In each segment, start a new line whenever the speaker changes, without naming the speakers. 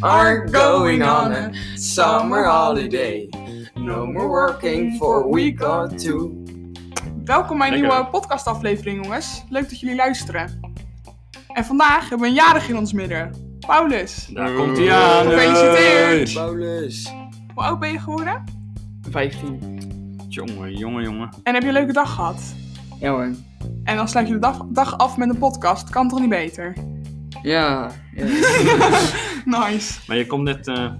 are going on a summer holiday. No more working for a week or two.
Welkom bij een
Lekker.
nieuwe podcastaflevering, jongens. Leuk dat jullie luisteren. En vandaag hebben we een jarige in ons midden. Paulus,
Daar komt hij aan.
Gefeliciteerd.
Paulus.
hoe oud ben je geworden?
15.
Jongen, jongen, jongen.
En heb je een leuke dag gehad?
Ja hoor.
En dan sluit je de dag, dag af met een podcast. Kan toch niet beter?
Ja.
Nice.
Maar je komt net... eh,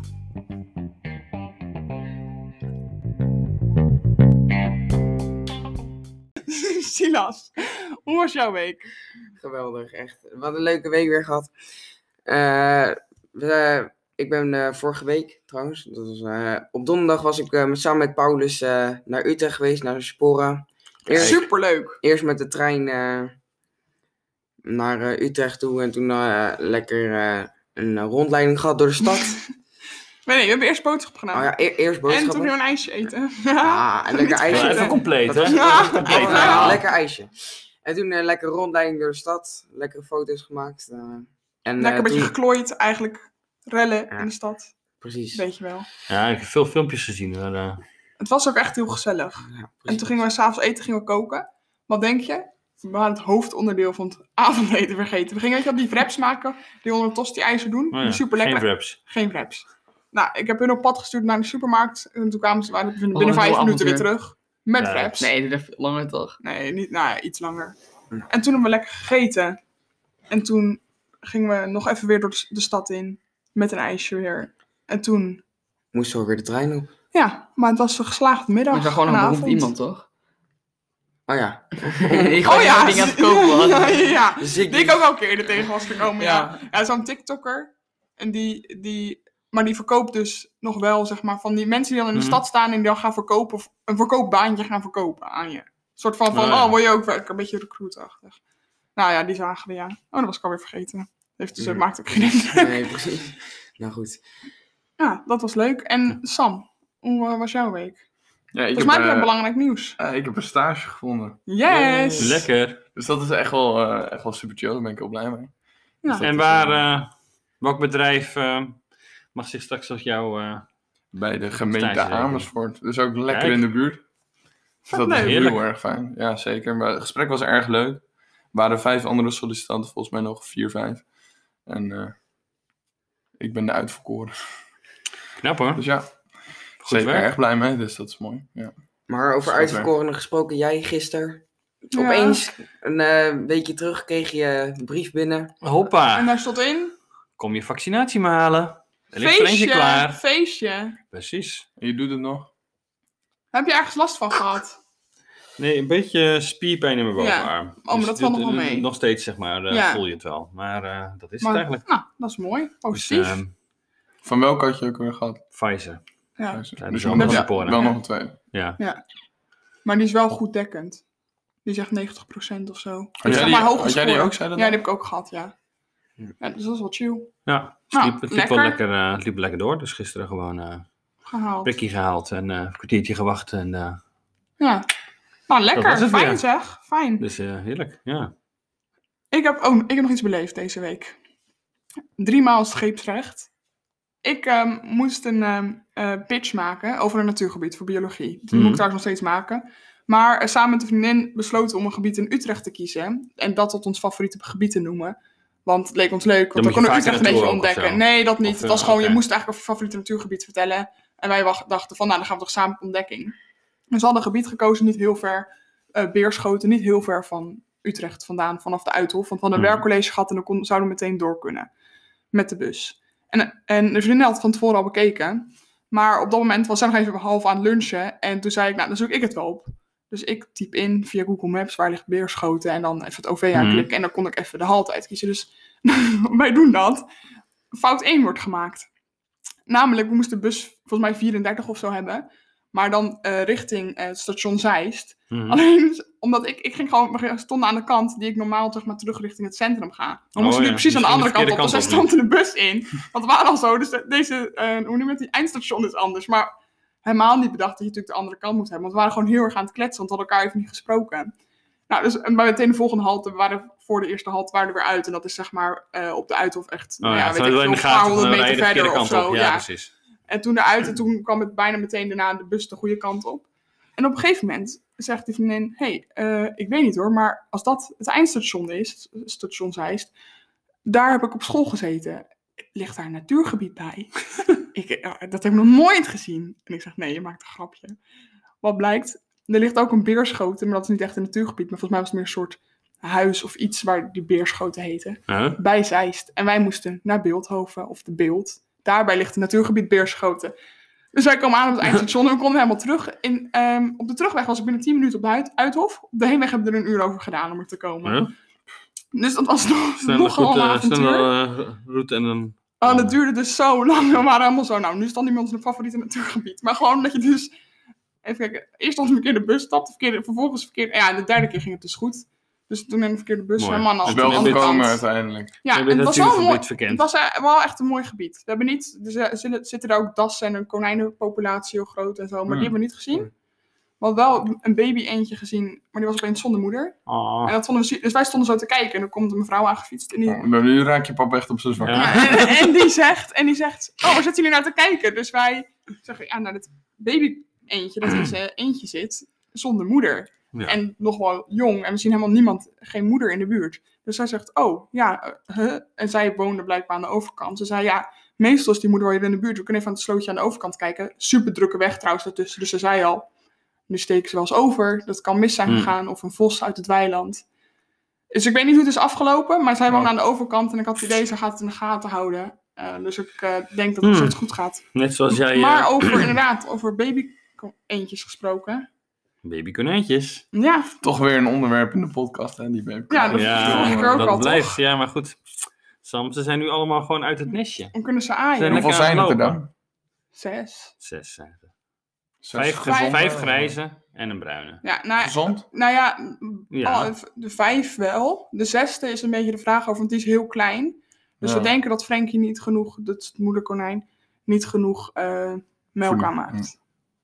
Silas, hoe was jouw week?
Geweldig, echt. Wat een leuke week weer gehad. Eh, we- ik ben eh, vorige week trouwens, dat was, eh, op donderdag was ik eh, met, samen met Paulus eh, naar Utrecht geweest, naar de Sporen. Eerst,
Superleuk.
eerst met de trein eh, naar eh, Utrecht toe en toen eh, lekker eh, een eh, rondleiding gehad door de stad.
Nee, nee, we hebben eerst boodschap gedaan.
oh ja, e- eerst
en toen
boodschappen.
gingen we een ijsje eten.
Ah, en lekker
Niet
ijsje.
vergeten.
even compleet, hè?
Ja.
Even compleet.
Even, eh,
verhaal.
lekker ijsje. En toen eh, lekker rondleiding door de stad, lekkere foto's gemaakt. eh, en,
Lekker
eh,
een beetje
toen-
geklooid eigenlijk. Rellen
Ja.
in de stad,
Precies.
weet je wel.
Ja, ik heb veel filmpjes gezien. Maar, eh,
Het was ook echt heel gezellig.
Ja,
En toen gingen we s'avonds eten, gingen we koken. Wat denk je? We hadden het hoofdonderdeel van het avondeten vergeten. We gingen weet je, wel, die wraps maken, die onder een tosti-ijzer doen.
nou ja,
Super
Geen
lekker. Oh Geen,
wraps.
wraps. Nou, ik heb hun op pad gestuurd naar de supermarkt. En toen kwamen ze waren binnen, binnen
Oh, een
vijf
heel
minuten weer
avontuur.
terug. Met
Ja.
wraps.
Nee, dat is langer toch?
Nee, niet, nou ja, iets langer.
Hm.
En toen hebben we lekker gegeten. En toen gingen we nog even weer door de, s- de stad in. Met een ijsje weer. En toen,
Moesten we weer de trein op.
ja, maar het was een geslaagde middag.
Maar ik ben gewoon een
en
beroemd
avond.
iemand toch?
Oh ja.
ik
Oh ja,
ding aan het kopen man.
ja, ja, ja.
Dus
Die ik ook al een keer er tegen was gekomen, ja.
Ja.
ja. zo'n TikToker. En die, die, maar die verkoopt dus nog wel, zeg maar, van die mensen die dan in de
Mhm.
stad staan en die dan gaan verkopen, of een verkoopbaantje gaan verkopen aan je. Een soort van, van
Nou ja.
oh, word je ook werken? Een beetje recruitachtig. Nou ja, die zagen we, ja. Oh, dat was ik alweer vergeten. Heeft dus, het
Mhm.
maakt ook geen idee.
Nee, precies. Nou goed.
Ja, dat was leuk. En Sam, hoe eh, was jouw week?
Ja, ik heb,
Volgens mij heb jij
eh,
belangrijk nieuws.
eh, ik heb een stage gevonden.
Yes!
Lekker.
Dus dat is echt wel, eh, echt wel super chill. Daar ben ik heel blij mee.
Ja.
Dus dat
En
is,
waar...
eh,
eh, welk bedrijf eh, mag zich straks als jou... eh,
bij de gemeente
stage rekenen.
Amersfoort. Dus ook lekker
Kijk.
in de buurt. Dus
Wat
dat is
leuk.
heel
Heerlijk.
erg fijn. Ja, zeker. Maar het gesprek was erg leuk. Er waren vijf andere sollicitanten. Volgens mij nog vier, vijf. En eh, ik ben de uitverkoren.
knap hoor.
Dus ja, zeker
werk.
erg blij mee. Dus dat is mooi. Ja.
Maar over
Schat,
uitverkorenen gesproken, jij gisteren.
Ja.
Opeens, een eh, weekje terug, kreeg je een brief binnen.
En
Hoppa.
daar stond in,
Kom je vaccinatie maar halen. Er ligt er eentje
feestje,
klaar.
feestje.
Precies.
En je doet het nog?
Heb je ergens last van gehad?
Nee, een beetje spierpijn in mijn
Ja. Oh,
bovenarm. Dus eh,
maar dat valt nog wel mee.
Nog steeds, zeg maar, eh,
Ja.
voel je het wel. Maar eh, dat is
Maar-
het eigenlijk.
Nou, dat is mooi.
Dus,
Positief.
ehm,
Van welke had je ook weer gehad?
Pfizer.
ja.
Dus
Tijdens
je
de
moet-
andere
ja,
sporen.
wel
Ja.
nog een tweede.
Ja.
Maar die is wel goed dekkend. Die zegt 90% of zo.
Had jij
zeg
die,
maar hoge
had jij die
score.
ook, zei dat
Ja, die
dan?
heb ik ook gehad, ja. ja dus dat is wel chill.
ja. Het,
Nou,
liep, het liep wel
lekker.
lekker, eh, het liep lekker door. Dus gisteren gewoon eh
Gehaald.
prikkie gehaald en eh, een kwartiertje gewacht. En, eh,
Ja. Nou,
Dat was
lekker.
het
Fijn
weer.
zeg. Fijn.
dus eh, heerlijk, ja.
Ik heb, oh, ik heb nog iets beleefd deze week. Driemaal scheepsrecht. Ik ehm, moest een ehm, eh, pitch maken over een natuurgebied voor biologie. Dat moet
Mhm.
ik trouwens nog steeds maken. Maar eh, samen met een vriendin besloten om een gebied in Utrecht te kiezen. En dat tot ons favoriete gebied te noemen. Want het leek ons leuk,
Dan
want dan
moet
konden
je
we
vaker
Utrecht een beetje
naartoe ook of
ontdekken.
zo.
Nee, dat niet.
Of,
het was
eh,
gewoon,
oké.
je moest eigenlijk over favoriete natuurgebied vertellen. En wij wacht- dachten van, nou, dan gaan we toch samen op ontdekking. Dus we hadden een gebied gekozen, niet heel ver eh, Beerschoten, niet heel ver van Utrecht vandaan, vanaf de Uithof. Want we hadden een
Mhm.
werkcollege gehad en dan kon- zouden we meteen door kunnen met de bus. En, en de vriendin had het van tevoren al bekeken. Maar op dat moment was zij nog even half aan het lunchen. En toen zei ik, nou, dan zoek ik het wel op. Dus ik typ in via Google Maps waar ligt Beerschoten en dan even het OV aanklikken. En dan kon ik even de halte uitkiezen. Dus wij doen dat. Fout 1 wordt gemaakt. Namelijk, we moesten bus volgens mij 34 of zo hebben. Maar dan eh, richting eh, het station Zeist.
Mhm.
Alleen dus omdat ik, ik ging gewoon, we stonden aan de kant die ik normaal zeg maar terug richting het centrum ga. Dan
Oh
moesten we
ja,
precies
dus
aan de
ging de
andere kant op, dus
verkeerde
hij
kant op
stond de bus in. Dat waren al zo, dus de- deze, eh hoe noem je het, die eindstation is anders. Maar helemaal niet bedacht dat je natuurlijk de andere kant moet hebben, want we waren gewoon heel erg aan het kletsen, want we hadden elkaar even niet gesproken. Nou, dus, en bij meteen de volgende halte, we waren voor de eerste halte waren we weer uit. En dat is zeg maar eh, op de Uithof echt, nou
Oh
ja,
ja,
weet
terwijl
ik
in de
veel, een paar
gaten van
honderd
de
meter
rijden verkeerde
verder of
kant
zo.
op.
ja.
Ja, precies.
En toen eruit en toen kwam het bijna meteen daarna de bus de goede kant op. En op een gegeven moment zegt die vriendin, hé, hey, eh, ik weet niet hoor, maar als dat het eindstation is, station Zeist, daar heb ik op school gezeten. Ligt daar een natuurgebied bij? ik, eh, dat heb ik nog nooit gezien. En ik zeg, nee, je maakt een grapje. Wat blijkt, er ligt ook een beerschoten, maar dat is niet echt een natuurgebied, maar volgens mij was het meer een soort huis of iets waar die beerschoten heten
Huh?
bij Zeist. En wij moesten naar Beeldhoven of de Beeld. Daarbij ligt het natuurgebied Beerschoten. Dus wij kwamen aan op het eindstation en we konden helemaal terug. In, ehm, op de terugweg was ik binnen 10 minuten op de Uit- Uithof. Op de heenweg hebben we er een uur over gedaan om er te komen.
Huh?
Dus dat was Mhm. nog,
Snelle,
nogal
goed,
een
eh,
avontuur.
snelle eh, route en dan...
Oh, dat duurde dus zo lang. We waren allemaal zo, nou, nu is dan niet meer ons favoriete natuurgebied. Maar gewoon dat je dus, even kijken, eerst als een verkeerde bus stapt, de verkeerde, vervolgens verkeerde, ja, en de derde keer ging het dus goed. Dus toen in de verkeerde bus,
Mooi.
mijn man al.
toen
is Dus wel
heb je het-
gekomen uiteindelijk.
Ja,
Heb
en
je
het was
het
wel een mooi,
natuurgebied verkend?
het was eh, wel echt een mooi gebied. We hebben niet, dus, er zullen- zitten daar ook dassen en een konijnenpopulatie heel groot en zo, maar die
Hmm.
hebben we niet gezien. We hadden wel een baby eentje gezien, maar die was opeens zonder moeder.
Ah.
En dat vonden we, zie- dus wij stonden zo te kijken en dan komt een mevrouw aangefietst en die,
Oh, nou, nu raak je pap echt op zijn zwak.
Ja.
en, en die zegt, en die zegt, oh, waar zitten jullie naar te kijken? Dus wij zeggen, ja, naar dat baby eentje, dat in zijn eentje zit, zonder moeder.
Ja.
En nog wel jong, en we zien helemaal niemand, geen moeder in de buurt. Dus zij zegt, oh, ja, eh, huh? en zij woonde blijkbaar aan de overkant. Ze zei, ja, meestal is die moeder wel hier in de buurt, we kunnen even aan het slootje aan de overkant kijken. Super drukke weg trouwens daartussen, dus ze zei al, nu steken ze wel eens over, dat kan mis zijn
Hmm.
gegaan, of een vos uit het weiland. Dus ik weet niet hoe het is afgelopen, maar zij woonde
Ja.
aan de overkant en ik had het idee, ze gaat het in de gaten houden. Eh, dus ik eh, denk dat het
Hmm.
steeds goed gaat.
Net zoals jij... eh,
Maar over, inderdaad, over baby eentjes gesproken.
Babykonijntjes.
Ja,
Toch weer een onderwerp in de podcast, hè, die baby.
Ja, dat is vorige keer
Ja,
ook al,
dat
toch?
blijft. Ja, maar goed. Sam, ze zijn nu allemaal gewoon uit het nestje.
dan kunnen ze
Zijn
aaien.
Hoeveel
lekker
zijn het er
lopen.
dan?
Zes.
Zes zijn er.
Zes
Vijf,
gezonde-
vijf grijze en een bruine.
Ja, nou,
Gezond?
nou ja, m,
Ja.
al- de vijf wel. De zesde is een beetje de vraag over, want die is heel klein. Dus
Ja.
we denken dat Frankie niet genoeg, dat is het moederkonijn, niet genoeg eh, melk
Voeding.
aanmaakt.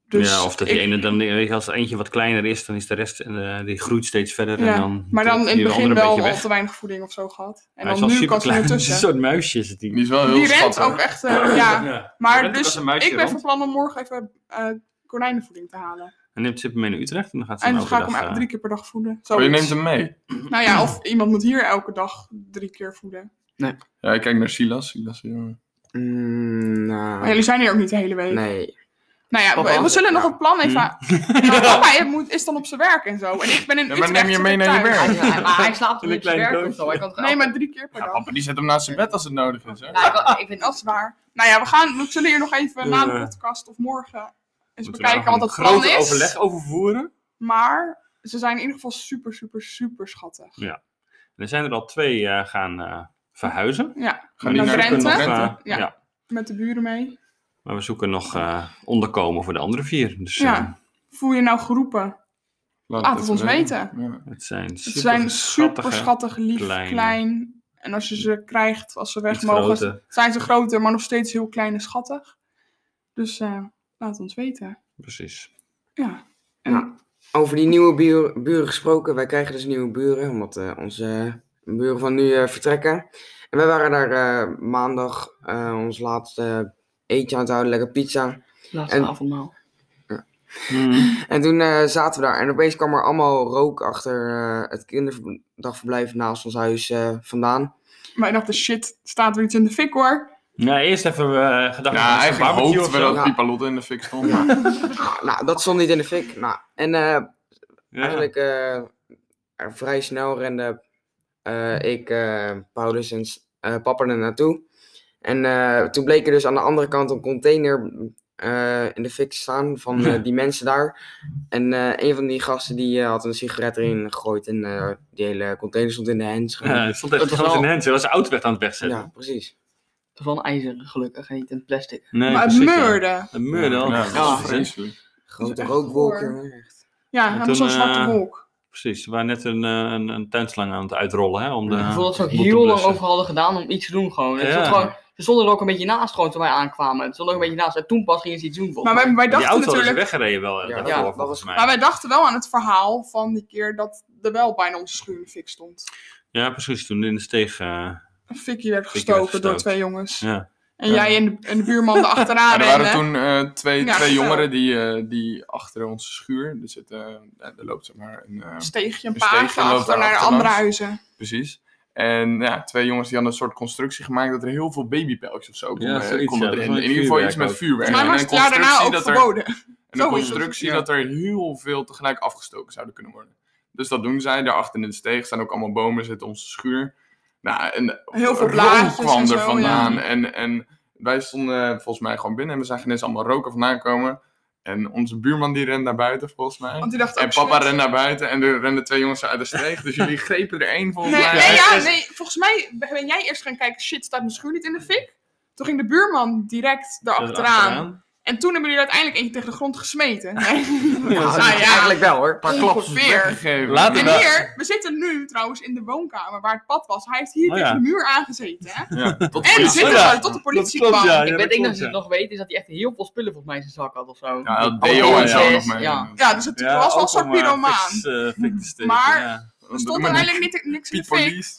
Dus
ja, of dat die
ik-
ene dan, weet je, als er eentje wat kleiner is, dan is de rest, eh, die groeit steeds verder.
Ja,
en dan
Maar dan in
die
het begin
andere een
wel
beetje
al
weg.
te weinig voeding of zo gehad. En
Hij is
dan
wel
nu kan ze
superklein.
ertussen.
Een soort muisje is het die.
Die is wel heel
Die rent
schattig.
ook echt, eh, ja. Maar
Rent ook
dus,
als een muisje
ik ben van
rond.
plan om morgen even eh, konijnenvoeding te halen.
En neemt Zipper mee naar Utrecht en dan gaat ze
En
hem
dan ga ik
overdag...
hem
eh,
elke drie keer per dag voeden.
Oh, je
Zoiets.
neemt hem mee.
Nou ja, of iemand moet hier elke dag drie keer voeden.
Ja, ik kijk naar Silas. Silas is een jongen.
Mm, nou,
Maar jullie zijn hier ook niet de hele week.
nee.
Nou ja,
Papa
we, we
ook.
zullen nog
Ja.
een plan even... Maar papa hij moet, is dan op zijn werk en zo. En ik ben in
Hmm. Ja, maar
Utrecht,
neem je mee
zit ik
naar je
thuis.
werk?
Hij, hij- maar hij slaapt
In een
toch niet op zijn
kleine
werk of
doosje.
zo. Hij kan toch
Nee,
elke-
maar drie keer per
Ja,
dag.
papa die zet hem naast zijn bed als het nodig is. Hè?
Nou, ik, kan- ik vind
Dat is waar. Nou ja, we, gaan, we zullen hier nog even na de
Eh.
podcast of morgen eens
moeten we
bekijken
nou
wat het
gewoon een
plan is.
groot overleg overvoeren.
Maar ze zijn in ieder geval super, super, super schattig.
Ja. En er zijn er al twee eh, gaan eh, verhuizen.
Ja,
Gaan
naar
de
Drenthe?
kunde-
Eh,
Ja.
ja.
met de buren mee.
Maar we zoeken nog eh, onderkomen voor de andere vier. Dus eh,
Ja. Voel je nou geroepen?
Laat
Laat het ons
Ja.
het zijn
Het zijn super
schattige,
schattig, lief,
kleine.
klein. En als je ze krijgt, als ze weg
iets
mogen,
grote.
zijn ze groter, maar nog steeds heel klein en schattig. Dus eh, laat ons weten.
Precies.
Ja.
Over die nieuwe buur- buren gesproken. Wij krijgen dus nieuwe buren, omdat eh, onze buren van nu eh, vertrekken. En wij waren daar eh, maandag eh, ons laatste eetje aan het houden, lekker pizza.
Laatste
En-
avondmaal.
Mm.
En toen eh, zaten we daar en opeens kwam er allemaal rook achter eh, het kinderdagverblijf naast ons huis eh, vandaan.
Wij dachten, shit, staat er iets in de fik hoor.
Nou, eerst even eh gedacht.
Ja, eigenlijk hoopten we dat
Ja.
Pipalotte in de fik stond. maar-
Nou, dat stond niet in de fik. Nou, en eh,
eigenlijk.
Eigenlijk eh, er vrij snel rende eh, ik, eh, Paulus en s- eh, papa er naartoe. En eh, toen bleek er dus aan de andere kant een container eh, in de fik te staan van eh, die mensen daar. En eh, een van die gasten die eh, had een sigaret erin gegooid en eh, die hele container stond in de hands.
het stond echt groot
Het was
in
wel-
de hand. Ze was de auto weg aan het wegzetten.
ja, precies.
Dat is wel een ijzeren, gelukkig. En niet een plastic.
Nee,
maar het
precies, ja.
meurde. Ja,
Het meurde al.
Ja, dat is
Precies, hè.
vreselijk.
Grote
echt
rookwolk,
goor.
jongen, echt.
helemaal
toen,
zo'n
eh,
zwarte wolk.
Precies, we waren net een, eh, een, een tuinslang aan het uitrollen. Hè, om de,
ik voel dat ze ook
om te
heel lang
blussen.
over hadden gedaan om iets te doen gewoon. Het
Ja.
is gewoon Ze stonden er ook een beetje naast gewoon toen wij aankwamen. Ze stonden ook een beetje naast. En toen pas gingen ze iets doen volgens
Maar wij,
mij.
wij
Die
dachten
auto is
natuurlijk...
weggereden wel. eh,
Ja,
daarvoor,
ja, dat
volgens
was-
mij.
Maar wij dachten wel aan het verhaal van die keer dat er wel bijna onze schuur in de fik stond.
Ja, precies. Toen in de steeg. eh,
Een fikje werd
Fikje werd
gestoken door
gestookt.
twee jongens.
ja.
En
Ja.
jij en de, en de buurman erachteraan
Maar er waren
rennen.
toen eh, twee,
Ja,
twee
vertel.
jongeren die, eh, die achter onze schuur. Er, zit, eh, ja, er loopt zeg maar een. eh,
Een steegje, een
Een steegje
paagje
loopt
achter
daar
naar de
achterlangs.
andere huizen.
precies. En ja, twee jongens die hadden een soort constructie gemaakt dat er heel veel babypijltjes of zo konden,
zoiets,
konden
ja, dat
erin.
was met
In ieder geval iets
vuurwerk
met
ook.
vuurwerk.
Ja,
Maar
En
was
een
het jaar daarna
constructie
ook
dat er-
verboden.
En de
Zo is het.
constructie
Ja.
dat er heel veel tegelijk afgestoken zouden kunnen worden. Dus dat doen zij. Daarachter in de steeg staan ook allemaal bomen, zit onze schuur. Nou, en
Heel veel
rook
blaadjes
kwam
en zo,
er
ja.
vandaan. En, en wij stonden eh, volgens mij gewoon binnen en we zagen ineens allemaal rook er vandaan komen. En onze buurman die rende naar buiten volgens mij.
Want die dachten
En
ook,
papa
shit.
rende naar buiten en er renden twee jongens uit de steeg. Dus jullie grepen er één volgens
Nee,
mij.
nee, ja,
is-
nee, volgens mij ben jij eerst gaan kijken, shit, staat mijn schuur niet in de fik? Toen ging de buurman direct daarachteraan.
erachteraan.
En toen hebben jullie uiteindelijk eentje tegen de grond gesmeten. Nee,
Ja,
nou ja.
eigenlijk wel hoor.
Maar
ongeveer.
weggegeven.
Later
En
Nou.
hier, we zitten nu trouwens in de woonkamer waar het pad was. Hij heeft hier
Oh,
tegen
ja.
de muur aangezeten. Hè?
Ja, tot
En we
politie.
zitten
ja.
zo tot de politie
Dat klopt,
kwam.
ja.
ik
dat
weet ik dat
klopt,
ze het
ja.
nog weten, is dat hij echt heel veel spullen volgens mij in zijn zak had of zo.
Ja, dat
Oh,
deo en zo
ja.
nog mee.
Ja.
Ja, dus het was wel een
eh,
soort pyromaan. Maar-
maar ja.
Er stond er eigenlijk niet, niks in de fik.
police.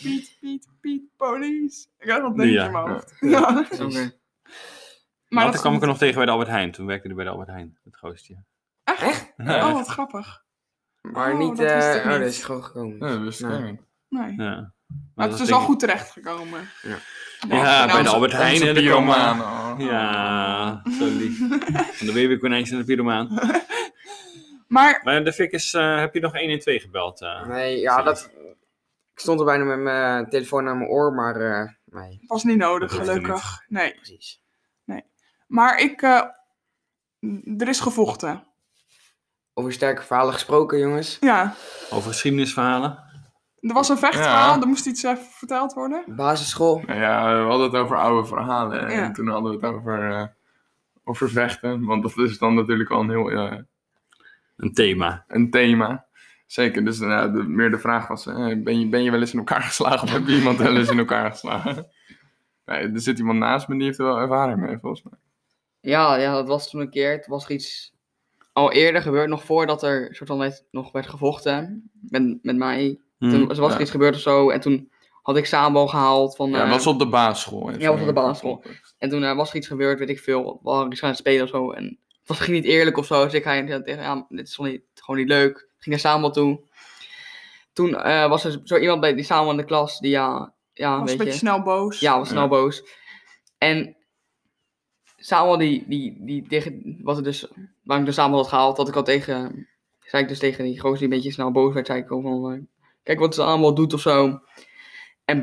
Piet, Piet, Piet, police. Ik had dat ding
Ja.
in mijn hoofd. Ja.
Oké.
Maar
Later
dat
kwam ik er nog tegen bij de Albert Heijn. Toen werkte hij bij de Albert Heijn, het goostje.
Echt?
Oh, wat grappig.
Maar
Oh,
niet,
dat wist
eh,
ik
oh, dat
niet.
is gewoon gekomen.
Ja, dat wist ik
Nou.
niet.
Nee.
Ja.
Maar
dat
het is
denk
wel
ik-
goed terechtgekomen.
Ja.
Ja, bij de
nou,
Albert Heijn en de pyromaan.
pyromaan.
Ja, zo lief. En de babykonijntje en de pyromaan.
Maar
Maar de fik is, eh, heb je nog 112 gebeld? eh?
Nee, ja, dat... Ik stond er bijna met mijn telefoon aan mijn oor, maar... eh, nee,
was niet nodig,
Dat hoefde
gelukkig. Nee.
precies.
Maar ik. eh, m, er is gevochten.
Over sterke verhalen gesproken, jongens.
Ja.
Over geschiedenisverhalen.
Er was een vechtverhaal,
Ja.
er moest iets eh, verteld worden.
Basisschool.
Nou ja, we hadden het over oude verhalen. En
Ja.
toen hadden we het over, eh, over vechten. Want dat is dan natuurlijk wel een heel eh,
Een thema.
een thema. Zeker, dus nou ja, de, meer de vraag was, eh, ben, je, ben je wel eens in elkaar geslagen? Of heb je iemand wel eens in elkaar geslagen? Nee, er zit iemand naast me, die heeft er wel ervaring mee, volgens mij.
Ja, ja, dat was toen een keer. Het was er iets al eerder gebeurd, nog voordat er soort van net nog werd gevochten met, met mij.
Hm.
toen was er
Mm, ja.
iets gebeurd of zo. En toen had ik Sabo gehaald. Van,
ja,
eh,
was op de basisschool.
ja, was op de basisschool. En toen eh, was er iets gebeurd, weet ik veel. We waren iets gaan spelen of zo. En het was misschien niet eerlijk of zo. Dus ik ga tegen, ja, dit is gewoon niet, gewoon niet leuk. Ik ging naar Samuel toe. Toen eh, was er zo iemand bij die Samuel in de klas. Die ja, ja
was
weet
een beetje
je.
snel boos.
Ja, was
Ja.
snel boos. En Samuel, die, die, die tegen, wat er dus, waar ik dus Samuel had gehaald, had ik al tegen, zei ik dus tegen die gozer die een beetje snel boos werd, zei ik al van, eh, kijk wat Samuel doet of zo. En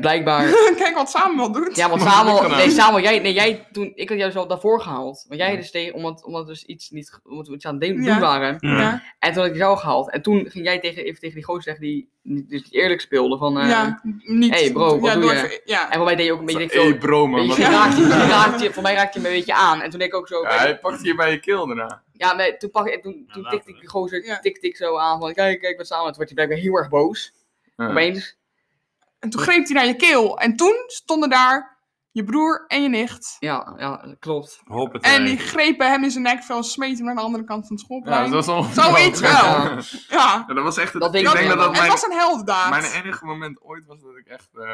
blijkbaar,
Kijk wat Samuel doet.
ja, want
Wat heb ik
Samuel,
gedaan?
nee, Samuel, jij, nee, jij, toen, ik had jou zo daarvoor gehaald. Want jij dus tegen, omdat, omdat we dus iets niet, omdat we iets aan het doen
Ja.
waren.
Ja.
Ja,
En toen had ik jou gehaald. En toen ging jij tegen, even tegen die gozer zeggen die, die dus niet eerlijk speelde van, eh,
ja, niet.
hey bro, wat
ja,
doe
door
je?
even- ja.
en waarbij deed je oh, ook een beetje,
Hé,
ik veel-
bro, man.
je
wat-
raakt, je raakt je, voor mij raakte je me een beetje aan. En toen deed ik ook zo.
Ja, hij pakt hier bij je keel daarna.
Ja, maar toen, pak, en toen, toen
later,
tikte ik
hè?
die gozer
Ja.
tikte ik zo aan. Van kijk, kijk, wat samen. Toen werd hij blijkbaar heel erg boos.
Ja.
Opeens.
En toen greep hij naar je keel. En toen stonden daar je broer en je nicht.
Ja, ja, klopt.
Hoop het
En
eh.
die grepen hem in zijn nek, veel smeten hem naar de andere kant van het
Ja,
schoolplein.
dat
Ja,
was wel-
Zoiets wel.
Ja.
ja.
dat was echt het,
Dat
ik
weet
denk
ik wel.
dat dat
het
mijn,
was een heldendaad.
mijn enige moment ooit was dat ik echt... eh,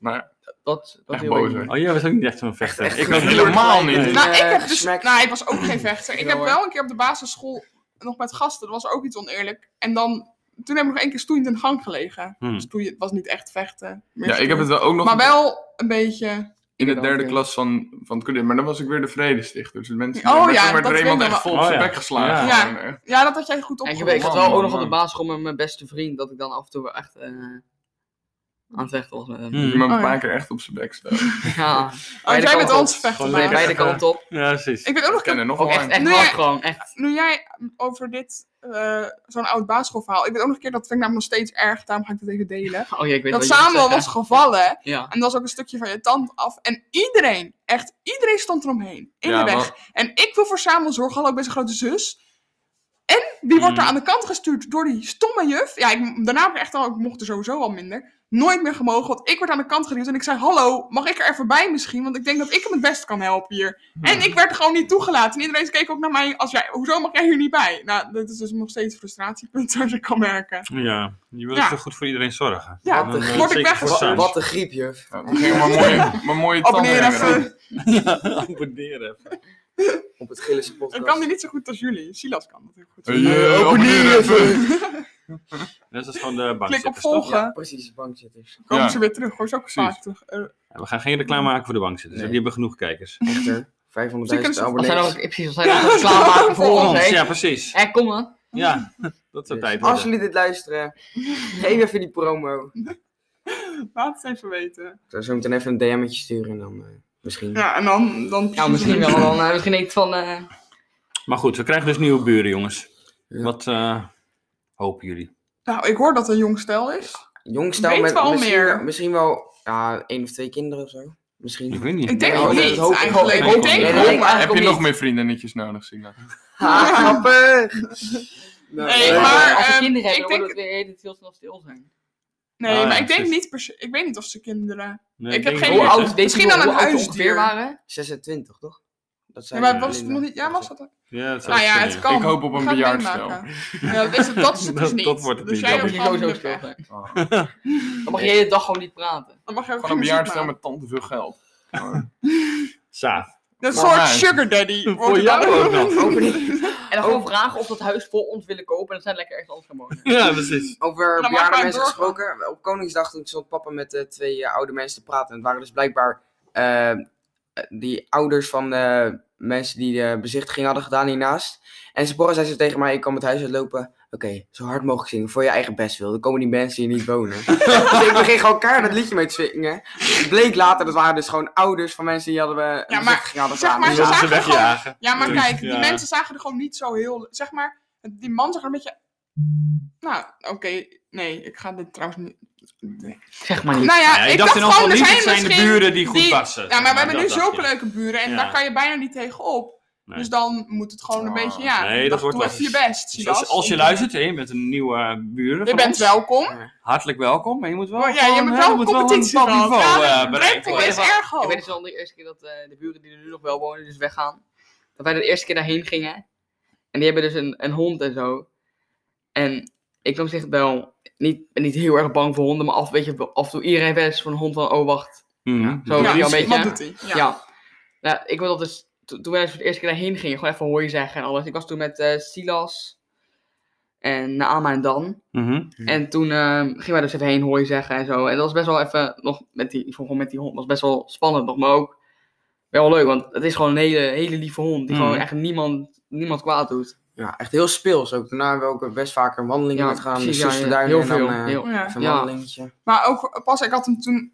nou, ja,
Dat, dat
Echt
heel
boos,
erg.
hè?
Oh, jij was ook niet echt zo'n vechter.
Echt-
ik
echt
was
heel erg-
helemaal niet.
Nee.
Nou, ik
eh,
heb dus,
gesmakt.
nou, ik was ook geen vechter. Ik
Ja,
heb
hoor.
wel een keer op de basisschool nog met gasten, dat was ook iets oneerlijk. En dan, toen heb ik nog één keer stoeiend in de gang gelegen.
Hmm.
Dus toen je- het was niet echt vechten. meer
ja, ik heb het wel ook nog
Maar wel een beetje.
in de
Ik
derde
ook, ja.
klas van, van het kunde. Maar dan was ik weer de vredestichter. Dus de mensen
Oh
daar werd-
ja,
daar werd
dat
er
weet
iemand
ik
echt
nog
vol
wel.
op zijn
Oh ja.
bek geslagen.
Ja.
Gewoon echt.
Ja, dat had jij goed
En ik,
opgelost.
weet- ik zat wel
Man,
ook
man,
nog op de
man.
basisschool met mijn beste vriend. Dat ik dan af en toe wel echt eh, aan het vechten was met hem.
Dus
Hm.
je me
Oh
een
ja.
paar keer echt op zijn bek staan. Ik eh,
Ja,
Oh,
beide
jij bent
kanten.
ons vechten.
Gewoon
maar-
lekker.
beide kanten op.
Ja, precies.
Ik weet ook nog,
ken
dat-
er nog
Ook
wel
echt,
een.
echt
Nee.
hard gewoon. Echt.
nu jij mm, over dit, eh, zo'n oud basisschoolverhaal. Ik weet ook nog een keer, dat vind ik namelijk nog steeds erg, daarom ga ik het even delen.
Oh ja, ik weet
Dat
wat je gaat
Samuel was
zeggen.
gevallen
Ja.
en dat was ook een stukje van je tand af. En iedereen, echt iedereen stond eromheen. In
Ja,
de weg.
maar-
En ik wil voor Samuel zorgen, al ook bij zijn grote zus. En die wordt er
Mm.
aan de kant gestuurd door die stomme juf. Ja, ik, daarna heb ik echt al, ik mocht er sowieso al minder. Nooit meer gemogen, want ik werd aan de kant geduwd. En ik zei, hallo, mag ik er even bij misschien? Want ik denk dat ik hem het beste kan helpen hier. En ik werd gewoon niet toegelaten. En iedereen keek ook naar mij, als jij, hoezo mag jij hier niet bij? Nou, dat is dus nog steeds frustratiepunt, zoals je kan merken.
Ja, je wil
Ja.
zo goed voor iedereen zorgen.
Ja,
Dan, eh,
word ik
zeker voor
weggestuurd.
Saans.
Wat een griep, juf.
Ja, dan ging ik mijn mooie, mijn mooie tanden
Abonneer
hebben.
even.
Ja, abonneren.
Op het Gillense podcast.
Ik kan die niet zo goed als jullie. Silas kan dat heel goed.
Hey, eh, abonneer even.
Dat is gewoon de bank.
Klik op
Ja,
volgen.
precies, bankzitters.
Komen
Ja.
ze weer terug, hoor. Is ook
Precies.
vaak terug. Eh,
we gaan geen reclame maken voor de bankzitters.
Nee.
Die hebben genoeg kijkers.
Echter, 500.000
Zie ik eens-
abonnees.
Als zij
Als,
nog, ja, precies, als zij nog wat klaarmaken voor ons, hè.
Ja, precies.
Hé, kom dan.
Ja, dat zou tijd
Dus, als
worden.
jullie dit luisteren, geef even die promo.
Laat het even weten.
Ik zou zo meteen even een DM'tje sturen en dan eh, misschien.
Ja, en dan... dan
Ja, misschien wel. Dan, eh, misschien denkt van, eh,
Maar goed, we krijgen dus nieuwe buren, jongens.
Ja.
Wat eh, hopen jullie?
Nou, ik hoor dat er een jong stel is.
Jong stel
Weten
met
we al
misschien,
meer?
misschien wel ja, één of twee kinderen of zo.
Ik
Misschien.
weet niet.
Ik denk
Ja,
het
dat
niet,
hoop ik.
eigenlijk.
Ik hoop
Ik denk
het.
het
Nee,
wel,
nee,
maar-
Heb je
Kom
nog
niet.
meer vriendinnetjes nodig, Sina?
Ha, grappig! Nee,
Hey,
eh,
maar,
als we
ehm,
kinderen
ik denk-
hebben, dan wordt het weer heel- heel snel stil zijn.
Nee,
Ah, ja,
maar ik denk
precies.
niet per se... Ik weet niet of ze kinderen...
Nee,
ik heb
denk
geen
het
idee.
Hoe
niet, hè?
oud deze
Misschien
hoe
aan een
oud ze
huisdier.
ongeveer waren?
26, toch? Dat
Ja,
zijn
maar was het nog niet... Ja, was dat...
Ja, dat zou
Nou ja,
kunnen,
het kan.
Ik hoop op
We
een
gaan
bejaard
meemaken. Ja, dat, is het, dat is het dus
Dat-
niet.
dat wordt het
dus
niet,
jij
Dan
dat
hebt
moet je
gewoon
sowieso
geluk
stil
weg.
zijn.
Oh.
Dan mag je de hele dag gewoon niet praten.
Dan mag je ook
Gewoon een
geen muziek
bejaardstel
maken.
met tante veel geld.
Saaf.
Een
Maar
soort
hij-
sugar daddy. wordt
Voor
het
jou
dan.
ook nog.
Over, die-
En dan gewoon vragen of dat huis voor ons willen kopen en dan zijn we lekker ergens anders gaan wonen.
Ja, precies.
over
Dan
bejaarde
maken wij
mensen
door.
gesproken. Op Koningsdag toen stond papa met eh, twee eh, oude mensen te praten. En het waren dus blijkbaar eh, die ouders van de mensen die de bezichtiging hadden gedaan hiernaast. En ze borrel zei ze tegen mij, ik kwam het huis uitlopen. Oké, zo hard mogelijk zingen, voor je eigen best wil. Dan komen die mensen hier niet wonen. dus ik begin gewoon keihard dat liedje mee te zingen. Het bleek later, dat waren dus gewoon ouders van mensen die hadden we
Ja, maar
bezichtiging hadden
zeg
gedaan.
maar,
Die
Dus
ze
wilden ze
zagen gewoon-
wegjagen.
Ja, maar
Dus,
kijk, die
ja.
mensen zagen er gewoon niet zo heel... Zeg maar, die man zag er een beetje... Nou, oké. Nee, ik ga dit trouwens niet... Nee.
Zeg maar niet.
Nou ja,
Ja,
ik,
ik
dacht,
in
gewoon, er
niet,
zijn
het zijn de
misschien
buren die goed passen.
Ja, maar we hebben nu
dat dacht
zulke
je.
leuke buren en
Ja.
daar kan je bijna niet tegenop.
Nee.
Dus dan moet het gewoon een
Oh,
beetje, ja,
nee, dat
dag,
wordt
doe
lastig.
even je best.
Dus
Silas.
als, als je luistert, hè, je bent een nieuwe eh, buren
Je
van
bent
ons.
welkom.
Hartelijk welkom, maar je moet wel
Maar ja, je
gewoon,
moet
hè,
wel
je moet
competitie
een bepaald
gehad.
niveau
Ja,
eh,
de
bereiken.
drempel is
Ik weet
erg
Ik weet
hoog.
het wel de eerste keer dat eh, de buren die er nu nog wel wonen, dus weggaan. Dat wij de eerste keer daarheen gingen. En die hebben dus een, een hond en zo. En ik was echt wel niet, niet heel erg bang voor honden, maar af, weet je, af en toe iedereen werd voor een hond van, oh wacht.
Mhm.
Zo,
Ja,
die al een beetje.
wat doet hij?
Ja.
Ja.
Nou, ik wil dat dus, to- toen wij dus voor het eerste keer daarheen gingen, gewoon even hooi zeggen en alles. Ik was toen met eh, Silas en Naama en Dan.
Mhm.
En toen ehm, gingen wij dus even heen hooi zeggen en zo. En dat was best wel even, nog met die, ik vond gewoon met die hond, was best wel spannend nog. Maar ook wel leuk, want het is gewoon een hele, hele lieve hond. Die
Mm.
gewoon echt niemand, niemand kwaad doet.
Ja, echt heel speels ook. Daarna hebben we ook best vaker een wandeling
Ja,
met gaan.
precies,
de
ja, ja,
Soesterduinen
heel
en dan
veel,
eh,
heel-
Ja.
even een
Ja.
wandelingetje.
Maar ook pas, ik had hem toen,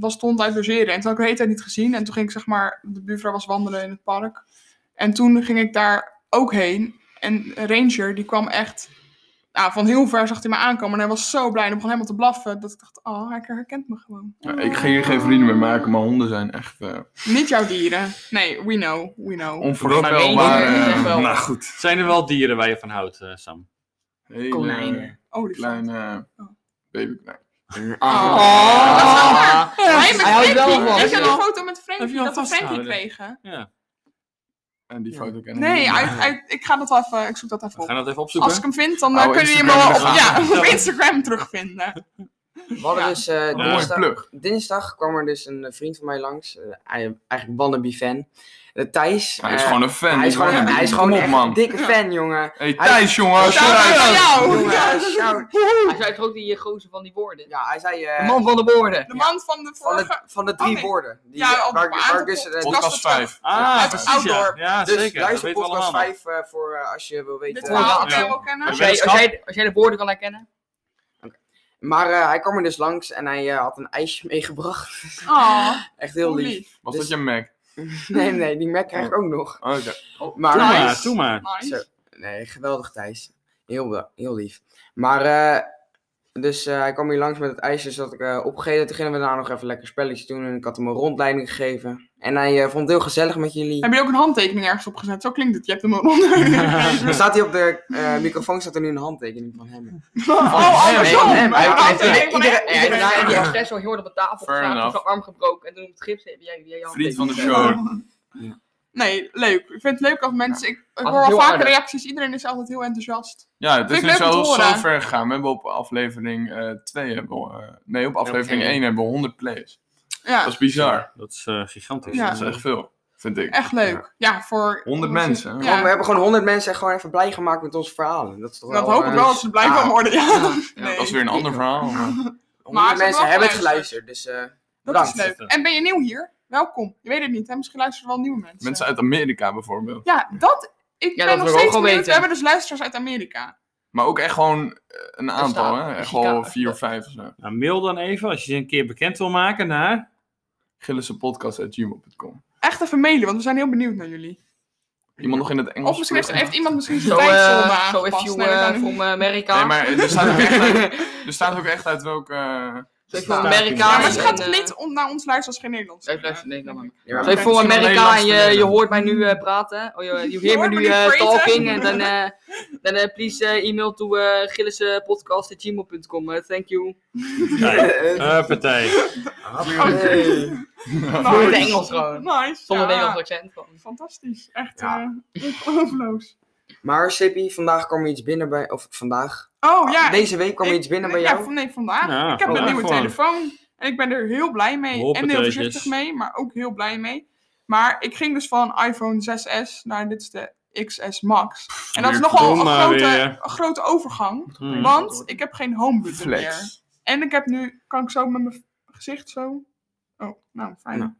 was stond uit logeren. En toen had ik de hele tijd niet gezien. En toen ging ik zeg maar, de buurvrouw was wandelen in het park. En toen ging ik daar ook heen. En Ranger, die kwam echt, nou, van heel ver zag hij me aankomen. En hij was zo blij en hij begon helemaal te blaffen. Dat ik dacht, oh, hij herkent me gewoon.
Ja, ik ga hier geen vrienden meer maken, maar honden zijn echt eh
Niet jouw dieren. Nee, we know, we know.
onvoorspelbaar.
Maar één ding is
eh,
echt wel-
nou goed.
Zijn er wel dieren waar je van houdt, eh, Sam?
Hele
Konijnen.
Oh, die
Kleine eh, babyknijn.
Ah. Hij, met
Hij houdt wel
Frankie.
van
Ik heb
hem.
een foto met
Heb je
Frankie
wel
dat we Frankie
vastgehouden?
kregen.
En die
Ja.
foto ken ik
Nee,
niet.
uit, uit, ik ga dat wel even, ik zoek dat even
We
op.
gaan dat even opzoeken.
Als ik hem vind, dan eh,
Oh,
kunnen jullie hem wel op,
Instagram
ja,
eraan.
op Instagram terugvinden.
We hadden
Ja.
dus eh,
Wat een mooie
dinsdag,
plug.
dinsdag kwam er dus een eh, vriend van mij langs. eh, hij- eigenlijk wannabe fan. Eh, Thijs.
Hij is
eh,
gewoon een fan.
hij is gewoon,
jongen.
een- hij is
Kom
gewoon
op,
echt een
man.
dikke fan, jongen.
Hey, Thijs, jongen. als je
Shout-out
luistert.
naar jou!
Jongen, shout.
Hij zei toch ook die eh, gozer van die woorden?
Ja, hij zei... eh,
De man van de woorden.
De man van de
van,
vorige...
de, van de drie
Oh, nee.
woorden. Die,
Ja, op-
waar,
op
waar
aantal
dus, eh,
podcasts.
Podcast 5.
Ah,
Uit
precies, ja.
Outdoor.
ja,
dus
zeker. dat
luister
weten we
podcast
allemaal.
5 eh, voor eh, als je wil weten...
Dit
eh,
verhaal
ja.
kan je wel kennen.
Als jij, als, jij, als jij de woorden kan herkennen.
Maar eh, hij kwam er dus langs en hij eh, had een ijsje meegebracht.
Oh,
Echt heel
lief.
lief.
Was
Dus-
dat je Mac? Oh,
Nee, nee, die Mac krijg ik ook nog.
Oké.
Maar,
Doe
Nice.
maar, doe maar.
Nice.
Zo. Nee, geweldig Thijs. Heel, wel- heel lief. Maar, eh, dus eh, hij kwam hier langs met het ijsje, dus dat ik eh opgegeten. Toen gingen we daarna nog even lekker spelletje doen en ik had hem een rondleiding gegeven. En hij eh, vond het heel gezellig met jullie.
Heb je ook een handtekening ergens op gezet? Zo klinkt het. Je hebt hem onder.
Er staat hier op de eh, microfoon staat er nu een handtekening van hem.
Oh, andersom.
hem, hem.
Ja,
Hij-
oké.
hij- iedereen-
Ja, en
iedereen-
daarna heb je als zes al heel hard op de tafel
Fair
gestaan, toen
enough.
zijn arm gebroken en toen op het gips heb jij jij je hand
Vriend van de
tegen-
show.
Nee, leuk. Ik vind het leuk als mensen... Ik, ik
het
hoor al
heel
vaker
aardig.
reacties. Iedereen is altijd heel enthousiast.
Ja, het is
Vind ik
nu
leuk om
zo,
te
zo
horen.
ver gegaan. We hebben op aflevering 2 hebben we, eh, Nee, op aflevering
één.
1 hebben we 100 plays.
Ja,
Dat is bizar.
Dat is eh, gigantisch.
Ja.
Dat is echt veel, vind ik.
echt leuk. Ja, voor...
100 mensen,
Gewoon,
hè?
Oh, we
Ja,
hebben gewoon honderd mensen gewoon even blij gemaakt met onze verhalen. Dat is toch
dat
wel,
hoop ik
eh,
wel dat ze blij
ja.
van worden. Ja.
Ja,
Nee.
Dat is weer een ander verhaal. maar-
Honderd
hebben
mensen
wel
hebben het
geluisterd.
geluisterd, dus eh
Dat is
bedankt.
leuk. En ben je nieuw hier? Welkom. Je weet het niet, hè? Misschien luisteren wel nieuwe mensen.
Mensen uit Amerika bijvoorbeeld.
Ja, dat... Ik
Ja, dat
ben
wil ik
nog
ook
steeds
wel
benieuwd. We
weten.
hebben dus luisteraars uit Amerika.
Maar ook echt gewoon eh, een aantal,
staat-
hè? Echt
Chicago-
wel vier of vijf of zo.
Nou, mail dan even als je ze een keer bekend wil maken naar...
Gillissenpodcast.gmail.com
Echt even mailen, want we zijn heel benieuwd naar jullie.
Iemand nog in het Engels?
Of misschien heeft,
terug?
heeft iemand misschien
So,
zijn tijdzone
uh, so if
aangepast.
you
Nee, dat
uh,
kan niet.
from America.
Nee, maar er staat ook echt uit, er staat ook echt uit welke... eh,
So if
Ja,
you're
maar
America.
Ja, maar ze
en,
gaat
eh,
niet om naar ons luisteren als geen Nederlands.
Nee, ik luister Nederlands, man.
Ja,
So if you're
Misschien wel
America en
Nederlands
je, je
te
hoort mij nu eh, praten. Oh, je you
Je
hear me
hoort
nu
me nu
eh,
praten.
talking. En dan eh, dan eh, please eh, email to uh, gillispodcast.gmail.com. eh, thank you.
Kijk, Huppatee.
Eh, Hey.
Voor het
Nice.
Engels gewoon.
Nice.
Zonder
ja.
Nederlands accent. Van.
Fantastisch. Echt eh
Ja.
ongelooflijk.
Maar Sippy, vandaag kwam er iets binnen bij... Of vandaag?
Oh ja.
Deze week kwam er
ik-
iets binnen bij
nee,
jou?
Ja, van, nee, vandaag.
Ja,
ik heb een
vandaag
nieuwe
gewoon.
telefoon. En ik ben er heel blij mee. En heel
Hoppateetjes.
voorzichtig mee, maar ook heel blij mee. Maar ik ging dus van iPhone 6S naar dit is de XS Max. En dat is
weer
nogal
dom
een
maar
grote,
weer.
een grote overgang.
Hmm.
Want ik heb geen home button meer.
Flex.
En ik heb nu, kan ik zo met mijn gezicht zo? Oh, nou, fijn.
Nou.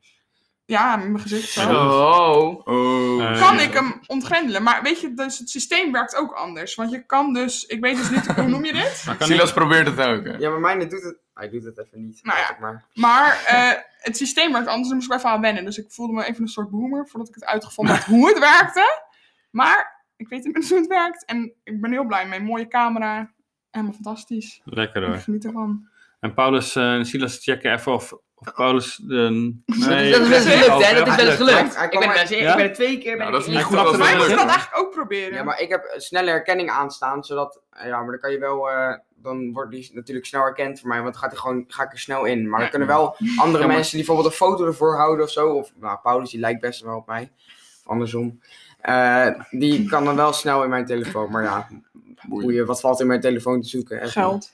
Ja, met mijn gezicht zo.
Oh.
Oh,
Eh,
kan ik hem ontgrendelen. Maar weet je, dus het systeem werkt ook anders. Want je kan dus, ik weet dus niet, hoe noem je dit?
Maar kan ik-
Silas probeert het ook, hè?
Ja, maar mijne doet het... Hij doet het even niet.
Nou ja.
laat ik Maar.
Maar eh, het systeem werkt anders, daar moest ik even aan wennen. Dus ik voelde me even een soort boomer, voordat ik het uitgevonden had hoe het werkte. Maar ik weet inmiddels hoe het werkt. En ik ben heel blij mee. Mooie camera, helemaal fantastisch.
Lekker
Ik
hoor.
geniet ervan.
En Paulus eh, en Silas checken even of, of Paulus de... Nee,
dat is best gelukt, hè? Dat is best
Ja,
Hij-
gelukt.
hij kwam
Ik ben er
maar-
best-
Ja?
ik ben er twee keer. ben
Nou,
ik
dat is
in.
niet
Ik
goed
snap
als
het
dat
Maar ik wil
lukt.
dat eigenlijk ook proberen.
Ja, maar ik heb eh, snelle herkenning aanstaan, zodat... eh, Ja, maar dan kan je wel... eh, dan wordt die natuurlijk snel herkend voor mij, want dan gaat hij gewoon, ga ik er snel in. Maar dan kunnen wel andere
maar-
mensen die bijvoorbeeld een foto ervoor houden of zo. Of nou, Paulus, die lijkt best wel op mij. Of andersom. Eh, die kan dan wel snel in mijn telefoon. Maar ja, boeien, wat valt in mijn telefoon te zoeken? Echt niet.
Geld.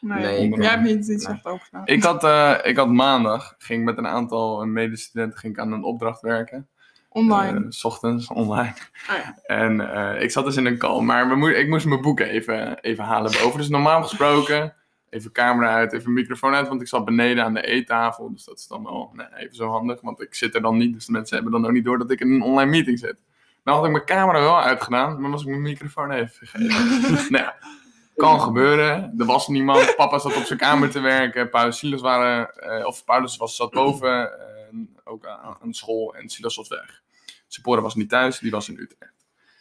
Nee,
Nee, ik-
jij hebt niet iets nou,
Nee.
echt over gedaan.
Ik had, eh, ik had maandag, ging met een aantal eh, medestudenten ging ik aan een opdracht werken.
Online.
Eh, 's ochtends, online.
Ah ja.
En eh, ik zat dus in een call, maar we moe- ik moest mijn boeken even, even halen boven. Dus normaal gesproken, even camera uit, even microfoon uit, want ik zat beneden aan de eettafel. Dus dat is dan wel nou, even zo handig, want ik zit er dan niet. Dus de mensen hebben dan ook niet door dat ik in een online meeting zit. Nou had ik mijn camera wel uitgedaan, maar was ik mijn microfoon even vergeten. nou ja, kan gebeuren. Er was niemand. Papa zat op zijn kamer te werken. Paulus Silas waren, eh, of Paulus was, zat boven, eh, ook aan, aan school. En Silas was weg. Sephora was niet thuis, die was in Utrecht.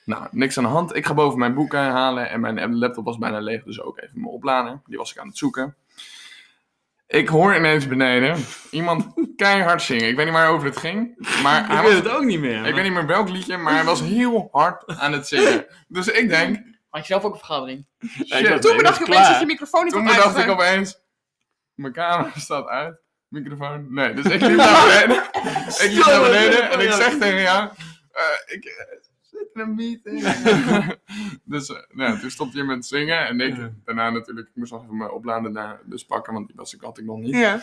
Nou, niks aan de hand. Ik ga boven mijn boeken halen en mijn laptop was bijna leeg, dus ook even mijn oplader. Die was ik aan het zoeken. Ik hoor ineens beneden iemand keihard zingen. Ik weet niet waarover het ging, maar hij
Ik
was
weet het ook niet meer.
ik weet niet meer welk liedje, maar hij was heel hard aan het zingen. Dus ik denk,
Had je zelf ook een vergadering?
shit.
dacht-
Toen
Nee,
bedacht
dat
je
is
opeens dat
klaar.
je microfoon niet
Toen
had
bedacht ik
uitgezet.
opeens, mijn camera staat uit, microfoon, nee. Dus ik liep naar beneden, ik liep naar beneden en ik zeg tegen jou, eh, ik eh, zit in een meeting. dus eh, nou, ja, toen stopte je met zingen en ik
Ja.
daarna natuurlijk, ik moest nog even mijn opladen daar dus pakken, want die was ik, had ik nog niet.
Ja.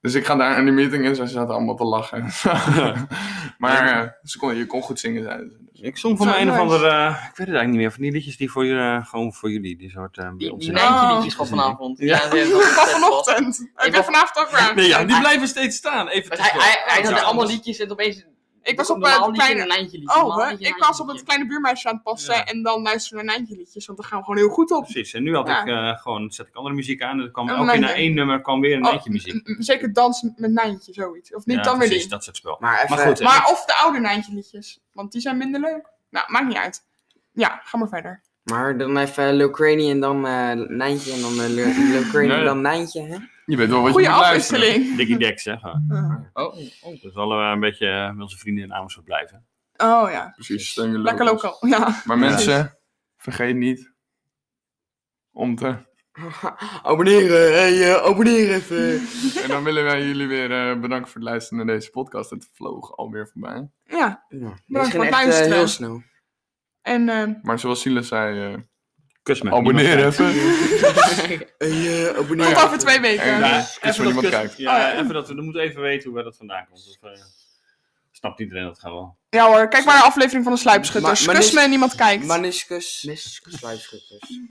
Dus ik ga daar in die meeting in, ze zaten allemaal te lachen. maar eh, ze kon, je kon goed zingen, zeiden ze. Dus
Ik zong van
Zo
een of
nice.
andere, eh, ik weet het eigenlijk niet meer, van die liedjes die voor jullie, eh, gewoon voor jullie, die soort eh, bij
Die,
ons
die
in-
nee.
Nijntje liedjes van vanavond.
Ja.
ze hebben
Van
dat-
vanochtend. Ik ben
was-
vanavond ook raar.
Nee, ja, die blijven steeds staan. Even
Want Hij,
tussendoor.
hij, hij
Ja,
had allemaal
anders-
liedjes en opeens...
Ik was
komt
op
normaal
eh, het
liedje en
kleine...
een Nijntje liedje.
Oh,
normaal
hè?
liedje en
ik
een
was
Nijntje
op het
liedje.
kleine buurmeisje aan het passen
Ja.
en dan luisteren we naar Nijntje liedjes, want daar gaan we gewoon heel goed op.
Precies, en nu had
Ja.
ik eh, gewoon, zet ik andere muziek aan en er kwam
Een
elke keer na
lijntje.
één nummer kwam weer een
Oh,
eindje muziek.
M- m- Zeker dansen met Nijntje, zoiets. Of niet,
Ja,
dan weer
precies,
niet.
dat soort spel.
Maar even...
Maar goed,
Maar of de oude Nijntje liedjes, want die zijn minder leuk. Nou, maakt niet uit. Ja, ga maar verder.
Maar dan even Locranie en dan eh Nijntje en dan eh, Lo- Locranie en
Nee.
dan Nijntje, hè?
Je weet wel wat
Goeie
je moet luisteren.
afwisseling.
Dikkie Dex, hè. gewoon.
Eh,
Oh, oh.
Dus alle een beetje eh, met onze vrienden in Amersfoort blijven.
oh ja,
Precies, steun je
lekker
locals.
lokaal. Ja.
Maar mensen, vergeet niet om te...
abonneren, hey, eh, abonneer even.
En dan willen wij jullie weer eh, bedanken voor het luisteren naar deze podcast. Het vloog alweer voorbij.
ja.
Ja,
voor
Bedankt
het
voor echt, eh,
luisteren.
heel snel.
En eh,
Maar zoals Silas zei, eh
Kus me.
abonneer
Nou, Niemand
even.
Hey, eh, abonneer.
tot over twee weken.
En,
Ja,
eh, kus
even
waar
dat
niemand
kus-
kijkt.
Ja,
Oh, ja.
even dat we dan moeten even weten hoe bij dat vandaan komt. Of, eh, snapt iedereen dat gewoon wel.
Ja hoor, kijk maar de aflevering van de Sluipschutters.
Maar- maar
Kus
dit-
me en niemand kijkt.
Maniscus.
Mis-
Sluipschutters.